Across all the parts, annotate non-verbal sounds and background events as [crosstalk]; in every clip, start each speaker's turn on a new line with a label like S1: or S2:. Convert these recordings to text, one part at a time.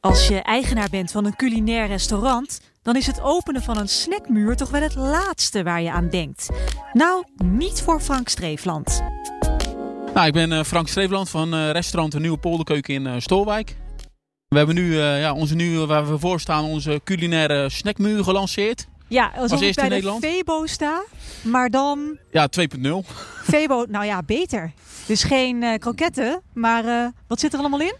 S1: Als je eigenaar bent van een culinair restaurant, dan is het openen van een snackmuur toch wel het laatste waar je aan denkt. Nou, niet voor Frank Streefland.
S2: Nou, ik ben eh, Frank Streefland van eh, restaurant De Nieuwe Polderkeuken in eh Stolwijk. We hebben nu, eh, ja, onze nieuwe, waar we voor staan, onze culinaire snackmuur gelanceerd.
S1: Ja, alsof
S2: Als
S1: ik
S2: eerste
S1: bij de
S2: Nederland?
S1: Febo sta, maar dan
S2: Ja, 2.0.
S1: Febo, [laughs] nou ja, beter. Dus geen eh, kroketten, maar eh, wat zit er allemaal in?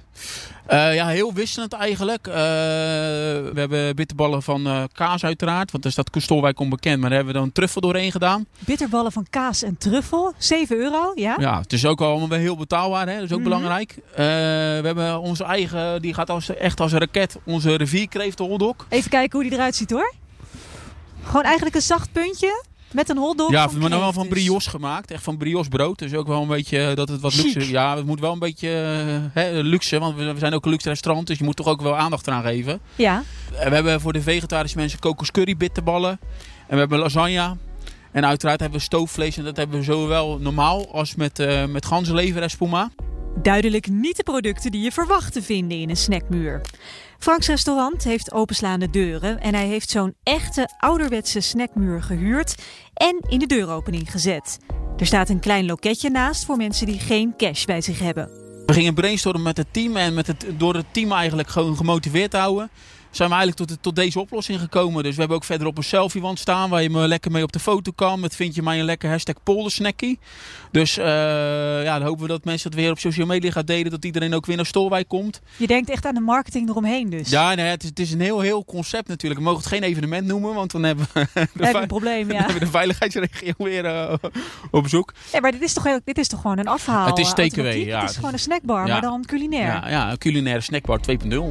S2: Eh, ja, heel wisselend eigenlijk. Eh, we hebben bitterballen van eh, kaas uiteraard, want daar staat Stolwijk onbekend. Maar daar hebben we dan truffel doorheen gedaan.
S1: Bitterballen van kaas en truffel, 7 euro, ja?
S2: Ja, het is ook allemaal wel heel betaalbaar, hè? dat is ook
S1: Mhm.
S2: belangrijk. Eh, we hebben onze eigen, die gaat als, echt als een raket, onze rivierkreeft de hotdog.
S1: Even kijken hoe die eruit ziet hoor. Gewoon eigenlijk een zacht puntje met een hotdog.
S2: Ja,
S1: van
S2: maar dan wel
S1: kreeft
S2: van
S1: dus.
S2: brioche gemaakt. Echt van brioche brood. Dus ook wel een beetje eh, dat het wat
S1: Chic.
S2: luxe Ja, het moet wel een beetje eh, hè, luxe. Want we we zijn ook een luxe restaurant. Dus je moet toch ook wel aandacht eraan geven.
S1: Ja,
S2: En we hebben voor de vegetarische mensen kokoscurry bitterballen. En we hebben lasagne. En uiteraard hebben we stoofvlees. En dat hebben we zowel normaal als met, eh met ganzenlever en spuma.
S1: duidelijk niet de producten die je verwacht te vinden in een snackmuur. Franks restaurant heeft openslaande deuren en hij heeft zo'n echte ouderwetse snackmuur gehuurd en in de deuropening gezet. Er staat een klein loketje naast voor mensen die geen cash bij zich hebben.
S2: We gingen brainstormen met het team. En met het, door het team eigenlijk gewoon gemotiveerd te houden. Zijn we eigenlijk tot, tot deze oplossing gekomen. Dus we hebben ook verderop een selfie-wand staan. Waar je me lekker mee op de foto kan. Met vind je mij een lekker hashtag poldersnackie. Dus eh, ja, dan hopen we dat mensen het weer op social media gaan delen. Dat iedereen ook weer naar Stolwijk komt.
S1: Je denkt echt aan de marketing eromheen dus.
S2: Ja, nou ja, het, is, het is een heel, heel concept natuurlijk. We mogen het geen evenement noemen. Want dan hebben we [laughs] de,
S1: We hebben
S2: vei-
S1: een probleem,
S2: dan [laughs]
S1: ja.
S2: hebben we de veiligheidsregio weer eh, op bezoek.
S1: Nee, maar dit is, toch, heel- dit is toch gewoon een afhaal?
S2: Het is
S1: eh,
S2: takeaway,
S1: alternatief?
S2: ja.
S1: Het is gewoon een snackbar,
S2: Ja.
S1: maar dan culinair.
S2: Ja, ja een culinaire snackbar 2.0.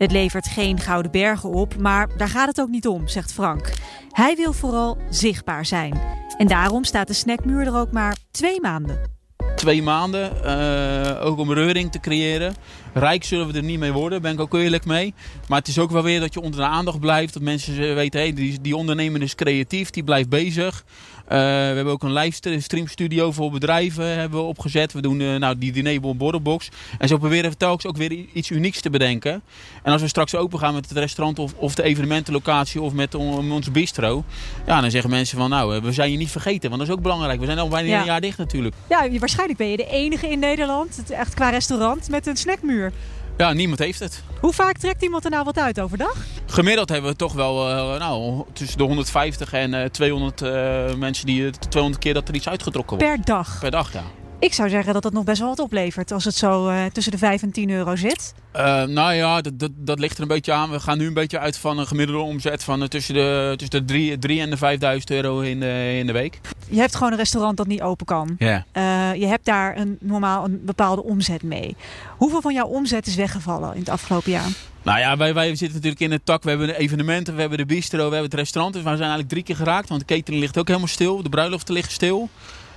S1: Het levert geen gouden bergen op, maar daar gaat het ook niet om, zegt Frank. Hij wil vooral zichtbaar zijn. En daarom staat de snackmuur er ook maar twee maanden.
S2: twee maanden. eh, ook om reuring te creëren. Rijk zullen we er niet mee worden, ben ik ook eerlijk mee. Maar het is ook wel weer dat je onder de aandacht blijft. Dat mensen eh, weten, hey, die, die ondernemer is creatief, die blijft bezig. Eh, we hebben ook een livestream studio voor bedrijven hebben we opgezet. We doen eh, nou, die dinerbol borrelbox. En zo proberen we telkens ook weer i- iets unieks te bedenken. En als we straks open gaan met het restaurant of, of de evenementenlocatie of met on- ons bistro. Ja, dan zeggen mensen van nou, eh, we zijn je niet vergeten. Want dat is ook belangrijk. We zijn al bijna
S1: Ja.
S2: een jaar dicht natuurlijk.
S1: Ja, je- waarschijnlijk ben je de enige in Nederland, het- echt qua restaurant, met een snackmuur.
S2: Ja, niemand heeft het.
S1: Hoe vaak trekt iemand er nou wat uit overdag?
S2: Gemiddeld hebben we toch wel eh, nou, tussen de 150 en eh, 200 eh, mensen die het 200 keer dat er iets uitgetrokken wordt.
S1: Per dag.
S2: Per dag, ja.
S1: Ik zou zeggen dat dat nog best wel wat oplevert als het zo eh, tussen de 5 en 10 euro zit.
S2: Eh, nou ja, dat, dat, dat ligt er een beetje aan. We gaan nu een beetje uit van een gemiddelde omzet van eh, tussen de, tussen de 3, en de 5000 euro in de, in de week.
S1: Je hebt gewoon een restaurant dat niet open kan.
S2: Ja.
S1: Eh, je hebt daar een, normaal een bepaalde omzet mee. Hoeveel van jouw omzet is weggevallen in het afgelopen jaar?
S2: Nou ja, wij, wij zitten natuurlijk in het tak. We hebben de evenementen, we hebben de bistro, we hebben het restaurant. Dus wij zijn eigenlijk drie keer geraakt. Want de catering ligt ook helemaal stil. De bruiloften liggen stil.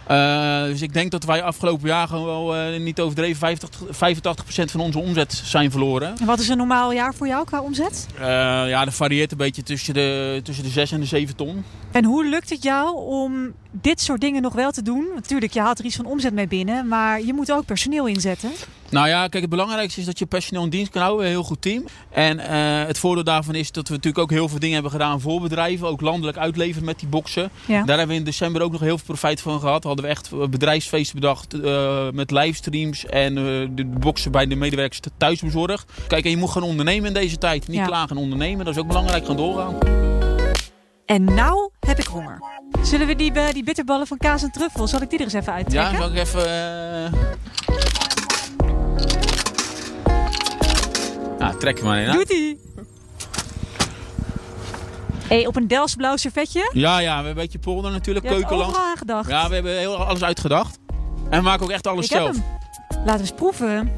S2: Eh, dus ik denk dat wij afgelopen jaar gewoon wel eh, niet overdreven 50, 85% van onze omzet zijn verloren.
S1: En wat is een normaal jaar voor jou qua omzet?
S2: Eh, ja, dat varieert een beetje tussen de, tussen de 6 en de 7 ton.
S1: En hoe lukt het jou om dit soort dingen nog wel te doen? Natuurlijk, je haalt er iets van omzet mee binnen, maar je moet ook personeel inzetten.
S2: Nou ja, kijk, het belangrijkste is dat je personeel in dienst kan houden, een heel goed team. En eh, het voordeel daarvan is dat we natuurlijk ook heel veel dingen hebben gedaan voor bedrijven, ook landelijk uitleveren met die boxen.
S1: Ja.
S2: Daar hebben we in december ook nog heel veel profijt van gehad. Hadden we echt eh, bedrijfsfeesten bedacht eh, met livestreams en eh, de boxen bij de medewerkers thuis bezorgd. Kijk, en je moet gaan ondernemen in deze tijd. Niet
S1: Ja.
S2: klagen en ondernemen, dat is ook belangrijk, gaan doorgaan.
S1: En nou heb ik honger. Zullen we die, eh, die bitterballen van kaas en truffel, zal ik die er eens even
S2: Ja,
S1: uittrekken?
S2: zal ik even... eh, Nou, trek er maar in. hè.
S1: Doet ie! hey, op een Delsblauw servetje?
S2: Ja, ja, we hebben een beetje polder natuurlijk,
S1: Je hebt
S2: keukenland.
S1: overal aan gedacht.
S2: Ja, we hebben heel alles uitgedacht. En we maken ook echt alles
S1: ik heb
S2: zelf.
S1: hem. Laten we eens proeven.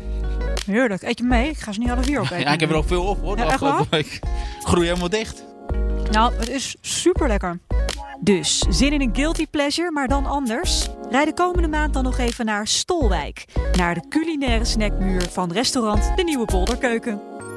S1: Heerlijk. Eet je mee? Ik ga ze niet alle vier opeten.
S2: [laughs] Ja, ik heb er ook veel op hoor, de
S1: Ja, echt waar?
S2: afgelopen week. Groei helemaal dicht.
S1: Nou, het is super lekker. Dus zin in een guilty pleasure, maar dan anders? Rijd de komende maand dan nog even naar Stolwijk, naar de culinaire snackmuur van restaurant De Nieuwe Polderkeuken.